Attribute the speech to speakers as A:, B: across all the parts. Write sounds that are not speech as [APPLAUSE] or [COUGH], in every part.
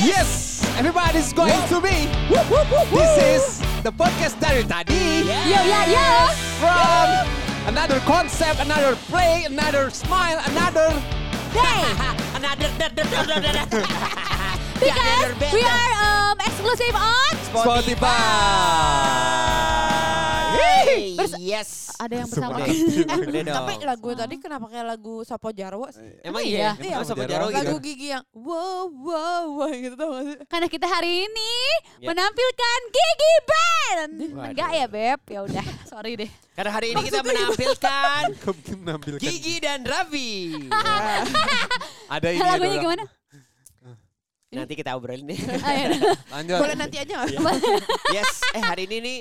A: Yes, everybody's going to be. This is the podcast dari tadi.
B: Yo ya yo.
A: From another concept, another play, another smile, another.
B: [LAUGHS] Hey, [LAUGHS] because we are um, exclusive on.
A: Spotify. Hey.
B: Terus-
C: yes.
B: [LAUGHS] Ada yang bersama.
A: Sumpah.
C: Boleh
D: Eh,
C: dong.
D: tapi lagu tadi
B: Oh.
D: kenapa kayak lagu Sapo Jarwo sih?
C: Emang iya?
B: Iya.
D: Iya,
C: Emang sama Jarwo
A: Jarwo gitu.
D: Lagu
C: gitu?
D: gigi yang wow wow wow gitu tau gak sih?
B: Karena kita hari ini
C: Ya.
B: menampilkan Gigi Band.
C: Waduh.
B: Enggak ya Beb, ya udah, sorry deh.
C: Karena hari ini kita
B: [LAUGHS]
C: menampilkan
A: menampilkan.
C: Gigi dan Raffi.
A: Ada
C: Iya,
A: ini. ada
B: Lagunya
A: orang.
B: gimana?
C: Nanti kita obrolin
B: [LAUGHS]
C: nih.
B: Ah, ya.
A: Lanjut. Iya.
D: Boleh nanti aja gak?
C: Yes, eh hari ini nih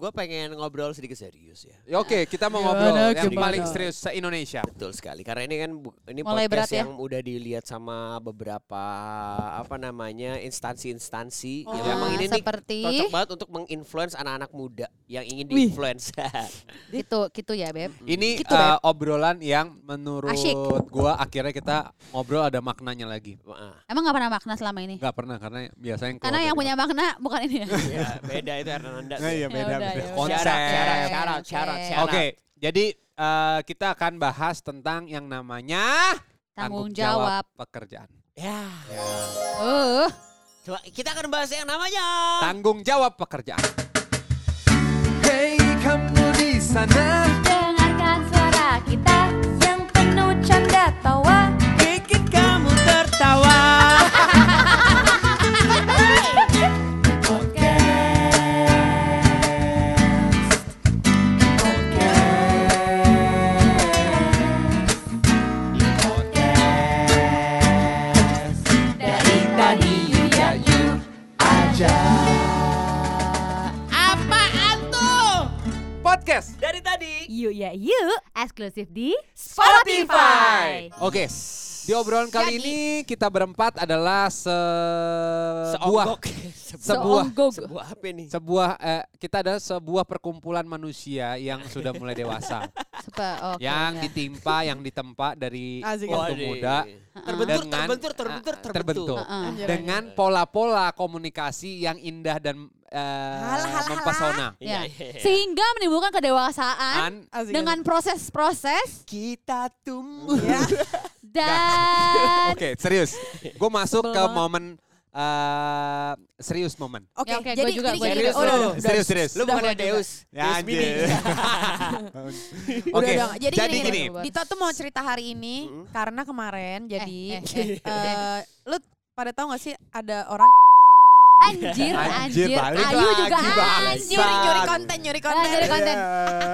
C: gue pengen ngobrol sedikit serius ya.
A: Ya, Oke, kita mau
D: Gimana,
A: ngobrol yang
D: gimana?
A: paling serius se Indonesia.
C: Betul sekali. Karena ini kan bu- ini
B: Mulai berat
C: podcast
B: ya.
C: yang udah dilihat sama beberapa apa namanya instansi-instansi yang
D: Oh,
C: memang ini nih
B: seperti
C: cocok banget untuk menginfluence anak-anak muda yang ingin diinfluence. [LAUGHS]
B: gitu gitu ya Beb.
A: Ini
B: Gitu, Beb.
A: eh, obrolan yang menurut
B: Asyik.
A: gua akhirnya kita ngobrol ada maknanya lagi.
C: Wah,
B: Emang gak pernah makna selama ini?
A: Gak pernah karena biasanya yang
B: Karena
A: keluar
B: yang
A: dari
B: punya makna bukan ini ya.
C: ya, beda itu Hernanda.
A: Nah, iya
B: Ya
A: beda,
B: udah,
A: beda.
B: ya udah.
A: Konsep.
C: Syarat, syarat, syarat,
B: Oke.
C: syarat,
A: Oke,
C: syarat.
A: jadi eh, kita akan bahas tentang yang namanya
B: Tanggung jawab.
A: pekerjaan.
C: Ya.
B: Uh,
C: Coba kita akan bahas yang namanya.
A: Tanggung jawab pekerjaan. Hey kamu di sana
E: Dengarkan suara kita yang penuh canda tawa
C: Bikin kamu tertawa.
E: dari tadi ya you
A: podcast.
C: [LAUGHS] Dari tadi.
B: you ya you eksklusif di
A: Spotify. Oke. Di obrolan kali ini kita berempat adalah se eh, sebuah
C: Seonggok. [LAUGHS]
A: sebuah
C: Sebuah apa nih?
A: sebuah eh, kita ada sebuah perkumpulan manusia yang sudah mulai
D: [LAUGHS]
A: dewasa,
B: Sepa, oke, ya.
A: yang ditimpa, yang ditempa dari
D: Asik.
A: waktu
C: Waduh.
A: muda
C: Terbentur,
A: Dengan-
C: terbentur, terbentur,
A: Ah,
C: terbentur.
A: terbentur.
B: Heeh.
D: Anjir,
A: dengan pola-pola komunikasi yang indah dan eh, mempesona.
C: Iya,
B: Ya.
C: iya, iya.
B: Sehingga menimbulkan kedewasaan
A: An-
D: Asik.
B: dengan proses-proses
C: Kita tumbuh.
D: Iya.
B: Ya, dan
A: [LAUGHS] Oke, serius. Gue masuk ke
B: Sebelum-
A: momen eh, serius momen.
D: Oke,
B: Ya, oke,
D: jadi
B: gua juga,
D: jadi
B: gua
D: gini,
B: juga.
D: udah, udah,
A: lu.
D: udah.
A: serius, serius.
C: Lu bukan
B: Udah,
C: Deus.
A: Ya,
C: Deus Mini.
A: anjir.
B: [LAUGHS]
A: Oke,
D: Udah dong. Jadi, gini,
B: gini.
D: Dito tuh mau cerita hari ini karena kemarin jadi
B: eh, eh, eh.
D: eh, lu pada tahu gak sih ada orang
B: anjir,
A: Anjir,
B: anjir,
A: balik
B: ayu
A: lagi,
B: juga
A: bangsat.
B: anjir.
D: nyuri nyuri konten nyuri konten.
B: Nah, Nyuri konten.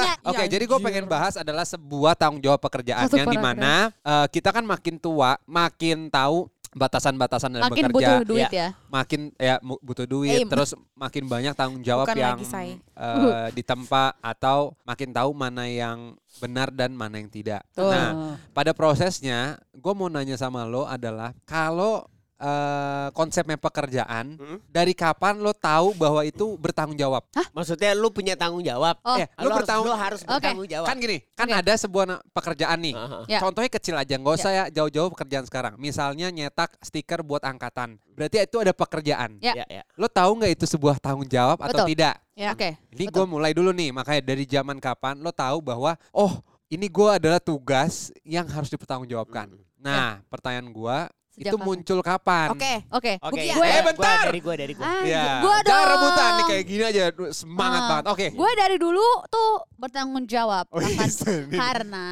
B: Ya,
A: Ah, Oke,
D: Ya,
A: jadi gue
D: anjir.
A: pengen bahas adalah sebuah tanggung jawab pekerjaan
B: Satu
A: yang dimana eh, kita kan makin tua, makin tahu batasan-batasan dalam
B: Makin
A: eh, bekerja, Iya.
B: butuh duit ya.
A: makin ya mu- butuh duit,
D: Aim.
A: terus makin banyak tanggung jawab
D: Bukan
A: yang
D: lagi, Say.
A: eh, ditempa atau makin tahu mana yang benar dan mana yang tidak.
D: Betul.
A: Nah, pada prosesnya, gue mau nanya sama lo adalah kalau eh, konsepnya pekerjaan,
C: Mm-mm.
A: dari kapan lo tahu bahwa itu bertanggung jawab?
C: Maksudnya lu punya tanggung jawab.
B: Oh.
A: Eh, lo
C: Lu harus,
A: bertanggung
C: lu harus
B: Oke.
C: bertanggung jawab.
A: Kan gini, kan ada sebuah na- pekerjaan nih.
C: Aha.
B: Ya.
A: Contohnya kecil aja, nggak usah ya jauh-jauh pekerjaan sekarang. Misalnya nyetak stiker buat angkatan, berarti itu ada pekerjaan.
B: Ya.
C: Ya, ya.
A: Lo tahu nggak itu sebuah tanggung jawab atau
B: Betul.
A: tidak?
D: Ya.
B: Oke.
A: Ini gue mulai dulu nih, makanya dari zaman kapan lo tahu bahwa oh ini gue adalah tugas yang harus dipertanggungjawabkan. Nah, pertanyaan gue
B: Sejak
A: itu
B: kapan?
A: muncul kapan?
D: Oke.
B: Oke.
C: Oke,
B: Gue-
C: ya,
B: gue
A: Eh,
C: gua-
A: bentar.
C: Dari gua, dari gua.
B: Ah,
A: Ya,
B: gue
A: jangan
B: dong.
A: rebutan nih kayak gini aja, Duh, semangat
B: Ah,
A: banget. Oke.
B: Gue dari dulu tuh bertanggung jawab.
A: Oh, iya, Ah.
B: Kapan?
A: serius.
B: Karena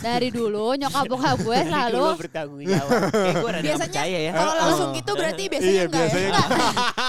B: dari dulu nyokap bokap gue
C: Dari
B: selalu
C: dulu bertanggung [LAUGHS] jawab. Kayak gua rada
D: Biasanya
C: percaya ya. [LAUGHS]
B: eh,
D: Kalau langsung gitu berarti biasanya
A: Iya,
D: enggak ya?
A: biasanya
B: Enggak,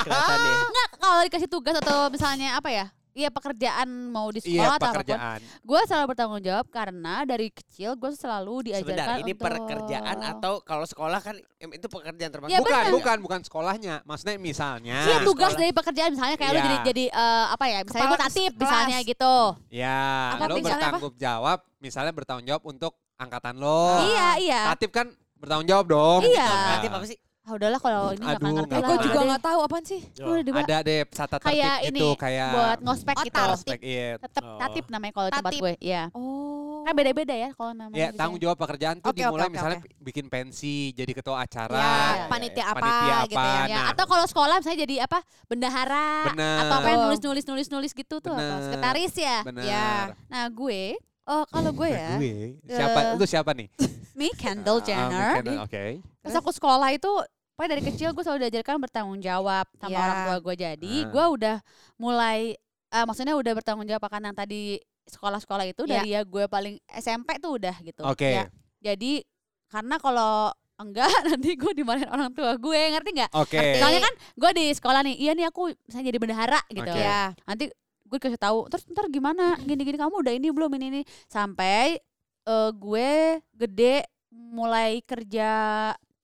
C: Kelihatan ya.
B: enggak kalau dikasih tugas atau misalnya apa ya? Iya pekerjaan mau di
A: Iya,
B: sekolah atau apapun.
A: pekerjaan.
B: Gue selalu bertanggung jawab karena dari kecil gue selalu
C: Sebentar,
B: diajarkan
C: ini
B: untuk
C: pekerjaan atau kalau sekolah kan em, itu pekerjaan termasuk.
B: Iya,
A: bukan,
B: benar.
A: bukan, bukan sekolahnya. Maksudnya misalnya.
B: Iya tugas
C: sekolah.
B: dari pekerjaan misalnya kayak lu
A: Nah, Iya.
B: jadi jadi eh, apa ya misalnya
D: Kepala
B: gue tatip
D: kelas.
B: misalnya gitu.
A: Ya,
B: Apa,
A: lo
B: misalnya apa?
A: bertanggung jawab, misalnya bertanggung jawab untuk angkatan lo.
B: Iya iya.
A: Tatip kan bertanggung jawab dong.
B: Iya.
A: Nah,
C: Tatip apa sih?
B: ah udahlah kalau ini nggak akan
A: Aduh,
B: ngerti
A: nggak
B: lah.
D: Gue juga
B: Ada.
D: nggak tahu apaan sih.
B: Udah dibawa.
A: Ada deh tata tertib
B: Kayak ini,
A: gitu kayak
B: buat ngospek kita.
D: Otak.
A: ospek, iya.
B: Tetap
C: Oh.
B: tatip namanya kalau tempat
D: Tatip.
B: gue. Iya.
D: Oh.
B: Kan beda-beda ya kalau namanya.
A: Ya, tanggung jawab pekerjaan tuh
D: Oke, oke,
A: dimulai
D: oke,
A: misalnya
D: oke.
A: pi- bikin pensi, jadi ketua
B: Iya,
A: acara,
D: Ya,
A: ya,
D: panitia apa
A: panitia apa,
D: gitu
B: Ya,
D: ya.
A: nah.
B: atau kalau sekolah misalnya jadi apa? Bendahara
A: Benar.
B: atau apa yang nulis-nulis nulis-nulis gitu tuh apa?
A: Benar.
B: Sekretaris ya.
A: Benar.
D: ya.
B: Nah, gue
D: Oh kalau gue ya,
A: Gue. Siapa?
B: Eh,
A: Itu siapa nih?
B: Me Kendall
A: Ah,
B: Jenner. Gitu.
A: Kendall, Oke.
B: Pas aku sekolah itu Pokoknya dari kecil gue selalu diajarkan bertanggung jawab sama
D: Iya.
B: orang tua gue. Jadi
A: Ah.
B: gue udah mulai, eh, maksudnya udah bertanggung jawab akan yang tadi sekolah-sekolah itu
D: Iya.
B: dari ya gue paling SMP tuh udah gitu.
A: Oke.
D: Ya.
B: Jadi karena kalau enggak [LAUGHS] nanti gue dimarahin orang tua gue ngerti nggak?
A: Oke.
B: Soalnya kan gue di sekolah nih, iya nih aku misalnya jadi bendahara gitu.
A: Oke.
D: ya.
B: Nanti gue kasih tahu, terus ntar gimana? Gini-gini kamu udah ini belum ini ini sampai eh, gue gede mulai kerja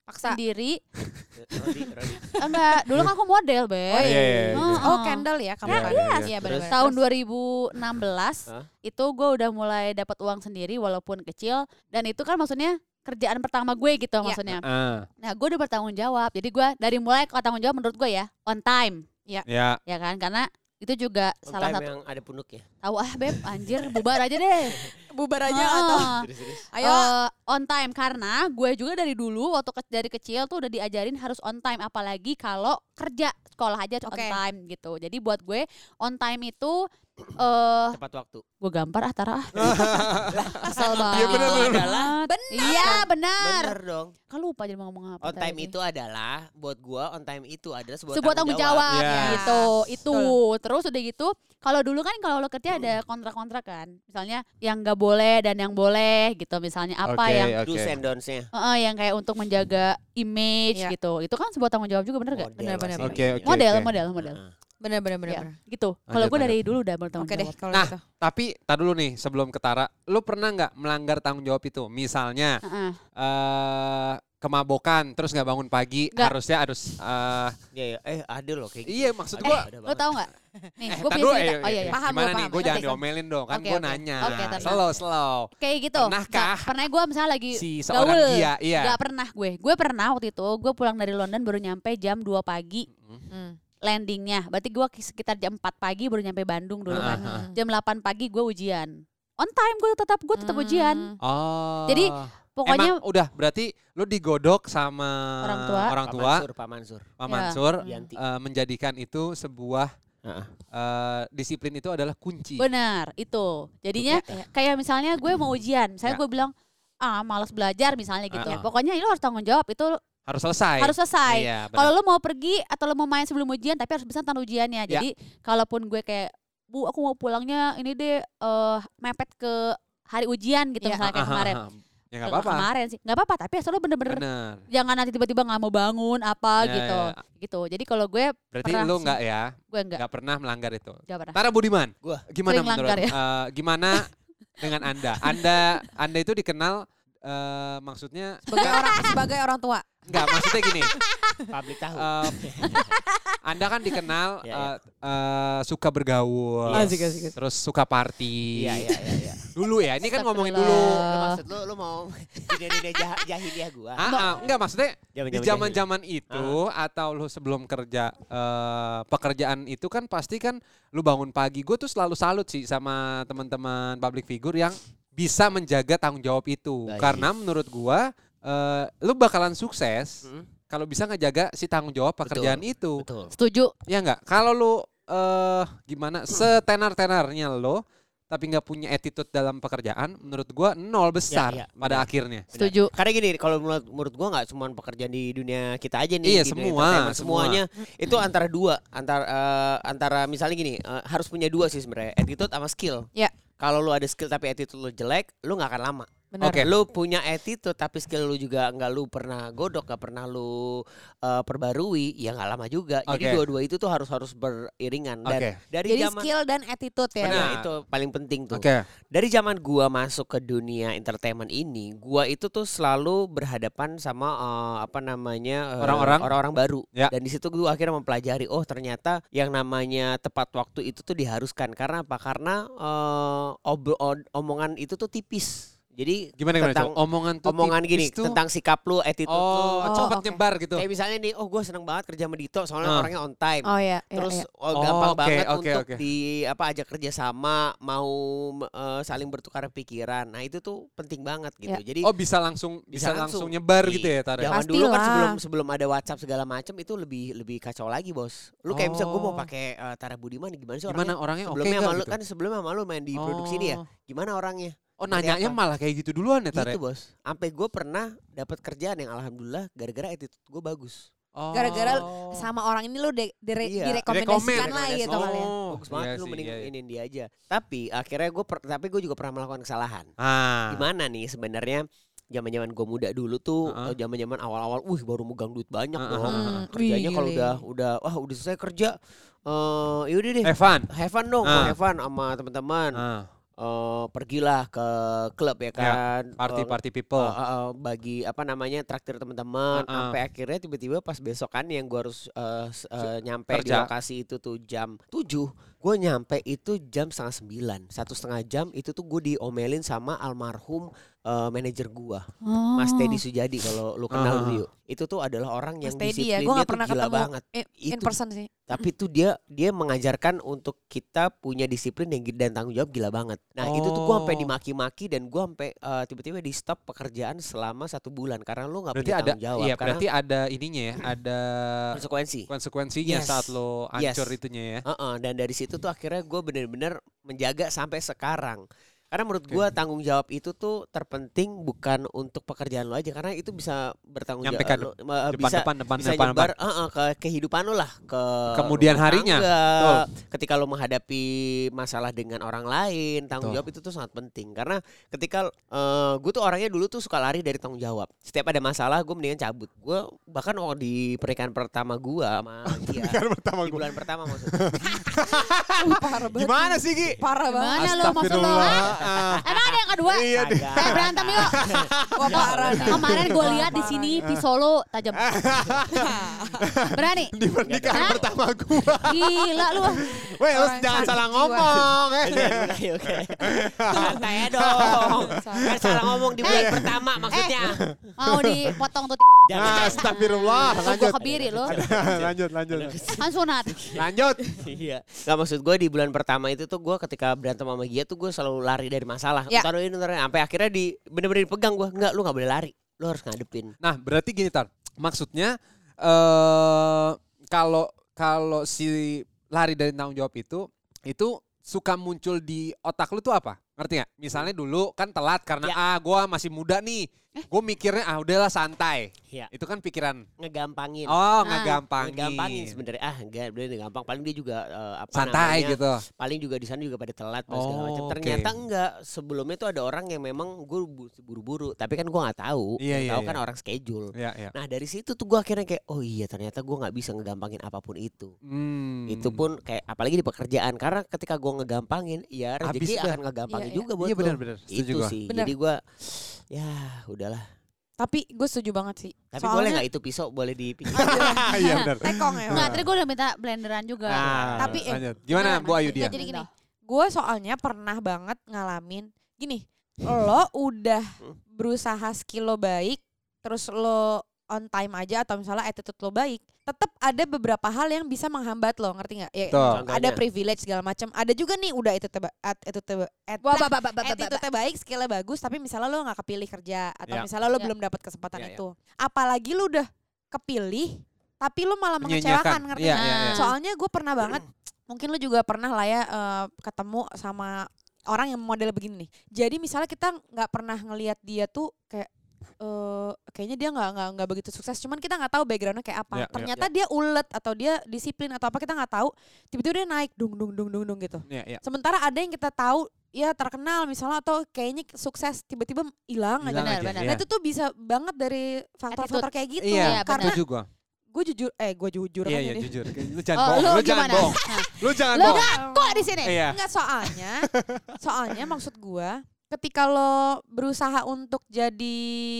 D: Paksa.
B: sendiri. Eh,
C: Rodi, Rodi.
B: Enggak, dulu kan aku model, Be.
A: Oh, iya, iya, iya.
B: Heeh.
D: Oh Kendall ya kamu
A: Iya,
D: kan.
A: iya.
D: Iya
C: Terus?
D: benar-benar.
B: Tahun
D: Terus?
B: 2016
C: Hah?
B: itu gue udah mulai dapat uang sendiri walaupun kecil dan itu kan maksudnya kerjaan pertama gue gitu
D: Iya.
B: maksudnya.
A: Ah,
B: Nah, gue udah bertanggung jawab. Jadi gue dari mulai ke tanggung jawab menurut gue ya, on time,
A: ya.
B: ya kan? Karena itu juga
C: On
B: salah
C: time ya?
B: satu
C: yang ada punuknya.
B: tahu ah beb anjir bubar aja deh
D: bubar aja
B: Heeh.
D: atau
C: Serius-serius.
D: ayo
B: Eh, on time karena gue juga dari dulu waktu ke- dari kecil tuh udah diajarin harus on time apalagi kalau kerja sekolah aja on
D: Oke.
B: time gitu jadi buat gue on time itu eh
C: Tepat waktu.
B: gue gampar ah Tara ah kesel banget
A: Iya, bener, bener, bener.
B: iya benar
C: Bener dong.
B: kan lupa jadi mau ngomong apa
C: On
B: tadi.
C: time itu adalah buat gua on time itu adalah sebuah,
B: sebuah tanggung jawab
A: Iya.
B: gitu itu terus udah gitu kalau dulu kan kalau lo kerja ada kontrak-kontrak kan misalnya yang nggak boleh dan yang boleh gitu misalnya apa
A: Oke,
B: yang
A: oke.
C: Do's and don'ts-nya.
B: Heeh, yang kayak untuk menjaga image
D: Iya.
B: gitu itu kan sebuah tanggung jawab juga bener gak
C: Model
D: Bener, bener,
C: sih.
A: Oke, oke.
B: model model model
C: Heeh.
D: benar-benar
B: Ya,
D: benar-benar.
B: gitu kalau gue
A: Lanjut,
B: dari dulu udah bertanggung
D: Oke deh
B: jawab
D: kalau
A: Nah.
D: gitu.
A: Tapi tar dulu nih sebelum ketara, lu pernah nggak melanggar tanggung jawab itu? Misalnya
B: Heeh.
A: eh kemabokan terus nggak bangun pagi,
B: Nggak.
A: harusnya harus eh,
C: Iya, iya. eh ada loh kayak gitu.
A: iya maksud
C: Ada,
A: gua
C: ada
B: Eh, lo
C: banget.
B: tau nggak nih gue
A: eh, tar
B: punya
A: dulu,
B: cerita
A: eh,
B: oh iya iya
D: Paham,
A: Gimana
D: gua
A: nih?
D: paham.
A: Gue jangan
D: Oke.
A: diomelin dong, kan
B: Oke,
A: gue
B: oke.
A: nanya.
B: Oke, tar.
A: slow, slow.
B: kayak gitu
A: Pernahkah?
B: pernah gue misalnya lagi
A: Si
B: gaul
A: seorang dia, iya.
B: Gak pernah gue gue pernah waktu itu gue pulang dari London baru nyampe jam 2 pagi
D: Hmm.
B: landingnya berarti gue sekitar jam 4 pagi baru nyampe Bandung dulu kan
A: Ah.
B: jam 8 pagi gue ujian on time gue tetap gue tetap ujian
D: Hmm.
A: Oh.
B: Jadi, pokoknya
A: Emang udah berarti lu digodok sama
B: Orang tua.
A: Iya, orang
C: Pak
A: tua,
C: Mansur, Pak Mansur.
A: Pak
B: Ya.
A: Mansur
C: Yanti.
A: eh, menjadikan itu sebuah
C: Heeh.
A: eh, disiplin itu adalah kunci.
B: Benar, itu. Jadinya kayak misalnya gue mau ujian, misalnya
A: Ya.
B: gue bilang ah malas belajar misalnya gitu.
A: Ah, ah.
B: Pokoknya lo harus tanggung jawab, itu
A: Harus selesai.
B: harus selesai.
A: Iya, benar.
B: kalau lo mau pergi atau lo mau main sebelum ujian tapi harus bisa tahan ujiannya.
A: Ya.
B: Jadi kalaupun gue kayak Bu, aku mau pulangnya ini deh eh, mepet ke hari ujian gitu
D: Ya.
A: Iya.
B: misalnya kayak kemarin.
A: ya nggak apa-apa.
B: Kemarin sih. Nggak apa-apa, tapi asal lo bener-bener
A: Benar.
B: jangan nanti tiba-tiba nggak mau bangun apa
A: Ya,
B: gitu.
A: ya.
B: Gitu. Jadi kalau gue
A: Berarti
B: Pernah
A: lu
B: sih.
A: nggak ya,
B: gue enggak,
A: nggak pernah melanggar itu.
B: enggak pernah.
A: Tara Budiman,
C: Gua.
A: gimana
B: Sering
A: menurut?
B: langgar ya.
A: eh, gimana dengan anda? Anda, anda itu dikenal eh, maksudnya
D: Sebagai
B: [LAUGHS]
D: orang sebagai orang tua.
A: nggak maksudnya gini.
C: Public tahu.
A: eh, anda kan dikenal
C: [LAUGHS] Ya, ya.
A: eh, eh, suka bergaul,
C: Asik,
D: asik, asik.
A: terus suka party.
C: Iya, iya, iya, iya.
A: Dulu ya, ini kan ngomongin dulu.
C: Lu maksud lu lu mau ide-ide jah- jahiliah gua.
A: Ah, ah, enggak maksudnya di
C: jahiliah.
A: zaman-zaman itu
C: Ah.
A: atau lu sebelum kerja eh, pekerjaan itu kan pasti kan lu bangun pagi. Gue tuh selalu salut sih sama teman-teman public figure yang bisa menjaga tanggung jawab itu.
C: Baik.
A: Karena menurut gua eh, lu bakalan sukses
C: Mm,
A: kalau bisa ngejaga si tanggung jawab pekerjaan itu.
C: Betul.
B: Setuju.
A: Ya enggak? Kalau lu eh gimana
C: Hmm.
A: setenar-tenarnya lo tapi nggak punya attitude dalam pekerjaan, menurut gua nol besar
C: ya,
A: pada
C: benar.
A: akhirnya.
C: Benar.
B: Setuju.
C: Karena gini, kalau menurut, menurut gua nggak cuma pekerjaan di dunia kita aja nih.
A: Iya,
C: di dunia
A: semua,
C: entertainment.
A: semua.
C: semuanya itu antara dua, antara eh, antara misalnya gini, eh, harus punya dua sih sebenarnya, attitude sama skill.
D: Iya.
C: Kalau lu ada skill tapi attitude lu jelek, lu nggak akan lama.
D: Benar.
A: Oke.
C: Lu punya attitude tapi skill lu juga nggak lu pernah godok, nggak pernah lu eh, perbarui, ya nggak lama juga. Jadi
A: Oke.
C: dua-dua itu tuh harus harus beriringan. Dan
A: Oke.
C: dari
D: Jadi
C: zaman
D: skill dan attitude ya.
A: Benar.
C: Nah, itu paling penting tuh.
A: Oke.
C: Dari zaman gua masuk ke dunia entertainment ini, gua itu tuh selalu berhadapan sama eh, apa namanya eh,
A: Orang-orang.
C: orang-orang baru.
A: Ya.
C: Dan di situ gua akhirnya mempelajari, oh ternyata yang namanya tepat waktu itu tuh diharuskan karena apa? Karena eh, ob- od- omongan itu tuh tipis. Jadi
A: Gimana gimana
C: Tentang
A: Cok? omongan tuh
C: omongan
A: tipis
C: gini
A: tuh.
C: tentang sikap lu, attitude
A: oh,
C: lu.
D: Oh,
A: cepat
D: oke.
A: nyebar gitu.
C: Kayak misalnya nih, oh gue seneng banget kerja sama Dito soalnya
A: Ah.
C: orangnya on time.
D: Oh
B: iya,
D: ya.
C: Terus
D: Terus
C: oh,
A: Oh,
C: gampang
A: oke,
C: banget
A: oke,
C: untuk
A: oke.
C: di apa ajak kerja sama, mau eh, saling bertukar pikiran. Nah, itu tuh penting banget gitu.
D: Iya.
C: Jadi
A: Oh, bisa langsung bisa,
C: Bisa
A: langsung,
C: langsung.
A: nyebar gitu ya tarik.
C: Zaman dulu kan
D: Pastilah.
C: sebelum sebelum ada WhatsApp segala macam itu lebih lebih kacau lagi, Bos. Lu kayak bisa gue mau
A: Oh.
C: pakai eh, Tara Budiman gimana sih
A: Gimana
C: orangnya?
A: orangnya oke
C: Sebelumnya
A: nggak
C: sama lu
A: gitu?
C: kan sebelumnya sama lu main di produksi ini ya.
A: Oh.
C: Gimana orangnya?
A: Oh,
C: Seperti
A: nanyanya
C: apa?
A: malah kayak gitu duluan ya tarik.
C: Gitu, Bos. Sampai gue pernah dapat kerjaan yang alhamdulillah gara-gara attitude gue bagus.
A: Oh.
D: Gara-gara sama orang ini lu de- dire-
C: Iya.
D: direkomendasikan
A: Direkomend.
D: lah gitu
C: Direkomendasi.
D: kali ya.
A: Oh,
C: bagus banget
A: iya
C: lu
A: sih,
C: mending
A: iya, iya.
C: ini dia aja. Tapi akhirnya gue tapi gue juga pernah melakukan kesalahan.
A: Ah.
C: Gimana nih sebenarnya zaman-zaman gue muda dulu tuh eh,
A: Heeh.
C: zaman-zaman awal-awal wih baru megang duit banyak
A: Heeh,
C: dong.
A: heeh,
D: heeh.
C: Kerjanya
D: Wih,
C: kalau
D: gile.
C: udah udah wah udah selesai kerja eh yaudah deh
A: Evan.
C: have fun dong, mau
A: Ah.
C: have fun sama teman-teman.
A: Ah,
C: Eh, pergilah ke klub ya kan. Eh,
A: party party
C: eh,
A: people.
C: eh, eh, bagi apa namanya traktir teman-teman
A: Oh. Heeh.
C: sampai akhirnya tiba-tiba pas besokan yang gua harus eh, s- eh, nyampe di
A: kerja.
C: lokasi itu tuh jam 7 gue nyampe itu jam setengah sembilan satu setengah jam itu tuh gue diomelin sama almarhum eh, manajer gua Mas
D: Oh.
C: Teddy Sujadi kalau lu kenal dulu yuk. itu tuh adalah orang yang
D: Mas Teddy ya,
C: disiplinnya
D: gua nggak
C: tuh
D: pernah
C: gila
D: ketemu.
C: banget
D: In, in
C: Itu-
D: person sih.
C: tapi tuh dia dia mengajarkan untuk kita punya disiplin yang gi- dan tanggung jawab gila banget. Nah itu tuh gue sampai
A: Oh.
C: dimaki-maki dan gue sampai eh, tiba-tiba di stop pekerjaan selama satu bulan karena lu nggak
A: Berarti
C: punya
A: ada
C: tanggung jawab
A: iya,
C: karena
A: berarti ada ininya
C: [CLEARS THROAT]
A: ya, ada
C: konsekuensi.
A: konsekuensinya
C: Yes.
A: saat lo
C: Yes.
A: ancur itunya ya.
C: Heeh, dan dari situ tuh akhirnya gue bener-bener menjaga sampai sekarang. Karena menurut gue tanggung jawab itu tuh terpenting bukan untuk pekerjaan lo aja karena itu bisa bertanggung
A: Nyampe ke
C: jawab lo, eh,
A: Depan
C: bisa
A: depan depan
C: bisa
A: depan
C: nyebar eh, eh, ke kehidupan lo lah ke
A: Kemudian
C: rumah
A: harinya,
C: tangga,
A: betul.
C: ketika lo menghadapi masalah dengan orang lain tanggung
A: Betul.
C: jawab itu tuh sangat penting karena ketika eh, gue tuh orangnya dulu tuh suka lari dari tanggung jawab setiap ada masalah gue mendingan cabut gue bahkan waktu di pernikahan pertama gue
A: [LAUGHS]
C: sama dia
A: pertama
C: di bulan pertama maksudnya
A: Gimana sih Ki?
D: Parah banget.
B: Gimana lo maksud lo?
A: Astagfirullah. Ah.
B: Emang ada yang kedua?
A: [LAUGHS] Iya, deh.
C: Kagak,
B: Saya
A: [LAUGHS]
B: berantem yuk.
D: Wah parah nih.
B: Kemarin gue
D: Wah,
B: lihat di
D: parah
B: sini
D: nih.
B: pisau lo
A: [LAUGHS]
B: tajam. Berani?
A: Di pernikahan
B: Hah?
A: pertama gua.
B: Gila lu.
A: Weh, Eh, lu
D: Orang
A: jangan
D: sakit
A: salah
D: jiwa.
A: ngomong.
C: Iya,
A: eh.
C: Oke
A: [LAUGHS]
C: oke. Santai aja dong. Kan salah ngomong di
A: Eh.
C: bulan pertama maksudnya.
B: Mau dipotong tuh.
A: Ah, Astagfirullah.
B: Gue
A: Lanjut.
B: kebiri lo.
A: Lanjut, lanjut.
B: Kan sunat.
A: Lanjut.
C: [LAUGHS] Iya. Gak maksud gue di bulan pertama itu tuh gue ketika berantem sama dia tuh gue selalu lari dari masalah.
D: Ya.
C: Taruh ini taruh ini. sampai akhirnya di bener-bener dipegang gue. Enggak, lu nggak boleh lari. Lu harus ngadepin.
A: Nah, berarti gini Tar. Maksudnya eh kalau kalau si lari dari tanggung jawab itu itu suka muncul di otak lu tuh apa? Ngerti nggak? Misalnya dulu kan telat karena
C: Ya. Eh?
A: ah gua masih muda nih. Gue mikirnya ah udahlah santai.
C: Iya.
A: Itu kan pikiran.
C: Ngegampangin.
A: Oh, nggak
C: Iya. Ah,
A: gampang.
C: Ngegampangin sebenarnya. Ah, enggak, bener gampang. Paling dia juga eh, apa
A: Santai
C: namanya,
A: gitu.
C: paling juga di sana juga pada telat pada segala
A: Oh,
C: macam.
A: oke.
C: Ternyata enggak. Sebelumnya tuh ada orang yang memang gue buru-buru, tapi kan gue nggak tahu.
A: Iya,
C: Yang
A: iya,
C: tahu
A: iya.
C: kan orang schedule.
A: Iya, iya.
C: Nah dari situ tuh gue akhirnya kayak oh iya ternyata gue nggak bisa ngegampangin apapun itu.
A: Hmm.
C: Itu pun kayak apalagi di pekerjaan karena ketika gue ngegampangin ya
A: Habis
C: rezeki
A: dah.
C: akan ngegampangin
D: Iya, iya.
C: juga buat
A: Iya
C: lo.
A: benar-benar.
C: Itu
A: Setuju gua.
C: sih.
D: Benar.
C: Jadi gue ya udahlah.
D: Tapi gue setuju banget sih.
C: Tapi
D: Soalnya-
C: boleh nggak itu pisau boleh dipinjam. [LAUGHS]
A: Iya benar.
D: Tekong ya.
B: Enggak, tadi gue udah minta blenderan juga.
A: Nah,
D: Tapi, eh,
A: lanjut. gimana Bu Ayu dia?
B: Nggak jadi gini.
D: Gue soalnya pernah banget ngalamin gini. Lo udah berusaha skill lo baik, terus lo on time aja atau misalnya attitude lo baik, tetap ada beberapa hal yang bisa menghambat lo, ngerti nggak? Ya,
A: Betul.
D: ada
C: Contohnya.
D: privilege segala macam. Ada juga nih udah itu teba, at- itu teba, at-
B: Wah, bah, bah, bah, bah, bah, bah.
D: attitude baik, skillnya bagus, tapi misalnya lo nggak kepilih kerja atau
A: Ya.
D: misalnya lo
B: Ya.
D: belum dapat kesempatan
A: Ya, ya.
D: itu. Apalagi lo udah kepilih, tapi lo malah
A: Menyanyiakan.
D: mengecewakan, ngerti Nah.
A: Iya,
D: nggak?
A: iya, iya.
D: Soalnya gue pernah banget, mungkin lo juga pernah lah ya eh, ketemu sama orang yang model begini nih. Jadi misalnya kita nggak pernah ngelihat dia tuh kayak eh kayaknya dia nggak nggak nggak begitu sukses cuman kita nggak tahu backgroundnya kayak
A: Ya,
D: apa
A: ya,
D: ternyata dia ulet atau dia disiplin atau apa kita nggak tahu tiba-tiba dia naik dung dung dung dung dung gitu
A: Iya, iya.
D: Sementara ada yang kita tahu ya terkenal misalnya atau kayaknya sukses tiba-tiba hilang aja.
A: Hilang
B: benar,
A: aja,
B: benar.
A: iya.
D: Nah itu tuh bisa banget dari faktor-faktor kayak gitu.
A: Iya,
B: Iya, benar.
D: Karena
A: setuju gua.
D: gue jujur, eh gue jujur
A: Iya,
D: kan
A: iya
D: ini.
A: jujur. Lu jangan
B: Oh,
A: bohong,
B: lu
A: lu jangan
B: gimana? Nah.
A: bohong.
B: Hah.
A: Lu jangan
B: Lu kan
A: bohong.
B: enggak kok di sini.
A: Iya.
D: Enggak soalnya, soalnya maksud gua ketika lo berusaha untuk jadi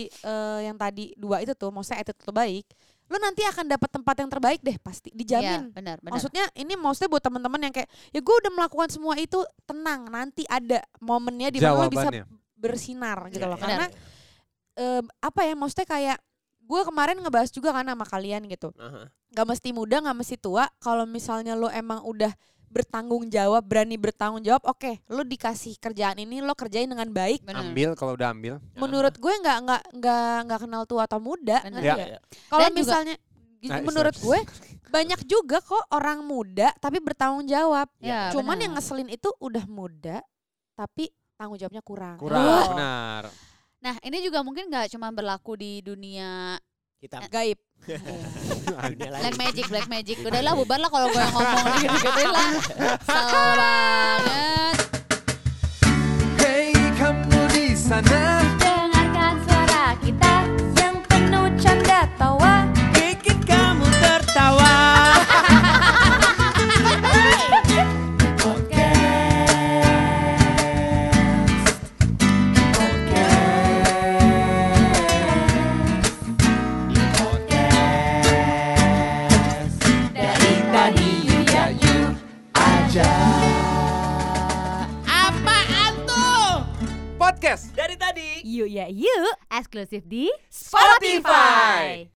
D: eh, yang tadi dua itu tuh, maksudnya attitude lo baik, lo nanti akan dapat tempat yang terbaik deh pasti,
B: Iya,
D: dijamin.
B: benar, benar.
D: Maksudnya ini maksudnya buat teman-teman yang kayak ya gue udah melakukan semua itu tenang nanti ada momennya di mana lo bisa
A: Jawabannya.
D: bersinar gitu
C: Iya,
D: loh
C: iya.
D: karena eh, apa ya maksudnya kayak gue kemarin ngebahas juga kan sama kalian gitu
C: Aha.
D: gak mesti muda gak mesti tua kalau misalnya lo emang udah bertanggung jawab berani bertanggung jawab oke lo dikasih kerjaan ini lo kerjain dengan baik
A: Ambil kalau udah ambil.
D: menurut gue nggak nggak nggak nggak kenal tua atau muda
B: Bener.
D: ngerti
A: Ya.
D: nggak?
C: Iya.
D: kalau
B: Dan juga-
D: misalnya
A: Nah, is-
D: menurut
A: [LAUGHS]
D: gue banyak juga kok orang muda tapi bertanggung jawab
B: Ya,
D: cuman
B: benar.
D: yang ngeselin itu udah muda tapi tanggung jawabnya kurang
A: kurang
B: Oh.
A: benar.
B: Nah ini juga mungkin nggak cuma berlaku di dunia
C: Kita
D: gaib
C: dunia lain.
B: black magic, black magic. Udah lah bubar lah kalau gue yang ngomong [LAUGHS] gitu-gituin lah. Salah banget.
A: Hey kamu di sana
E: Dengarkan suara kita yang penuh canda tawa
C: bikin kamu tertawa.
E: dari tadi ya you
A: podcast
C: Dari tadi
F: Yuk ya yuk, eksklusif di
E: Spotify.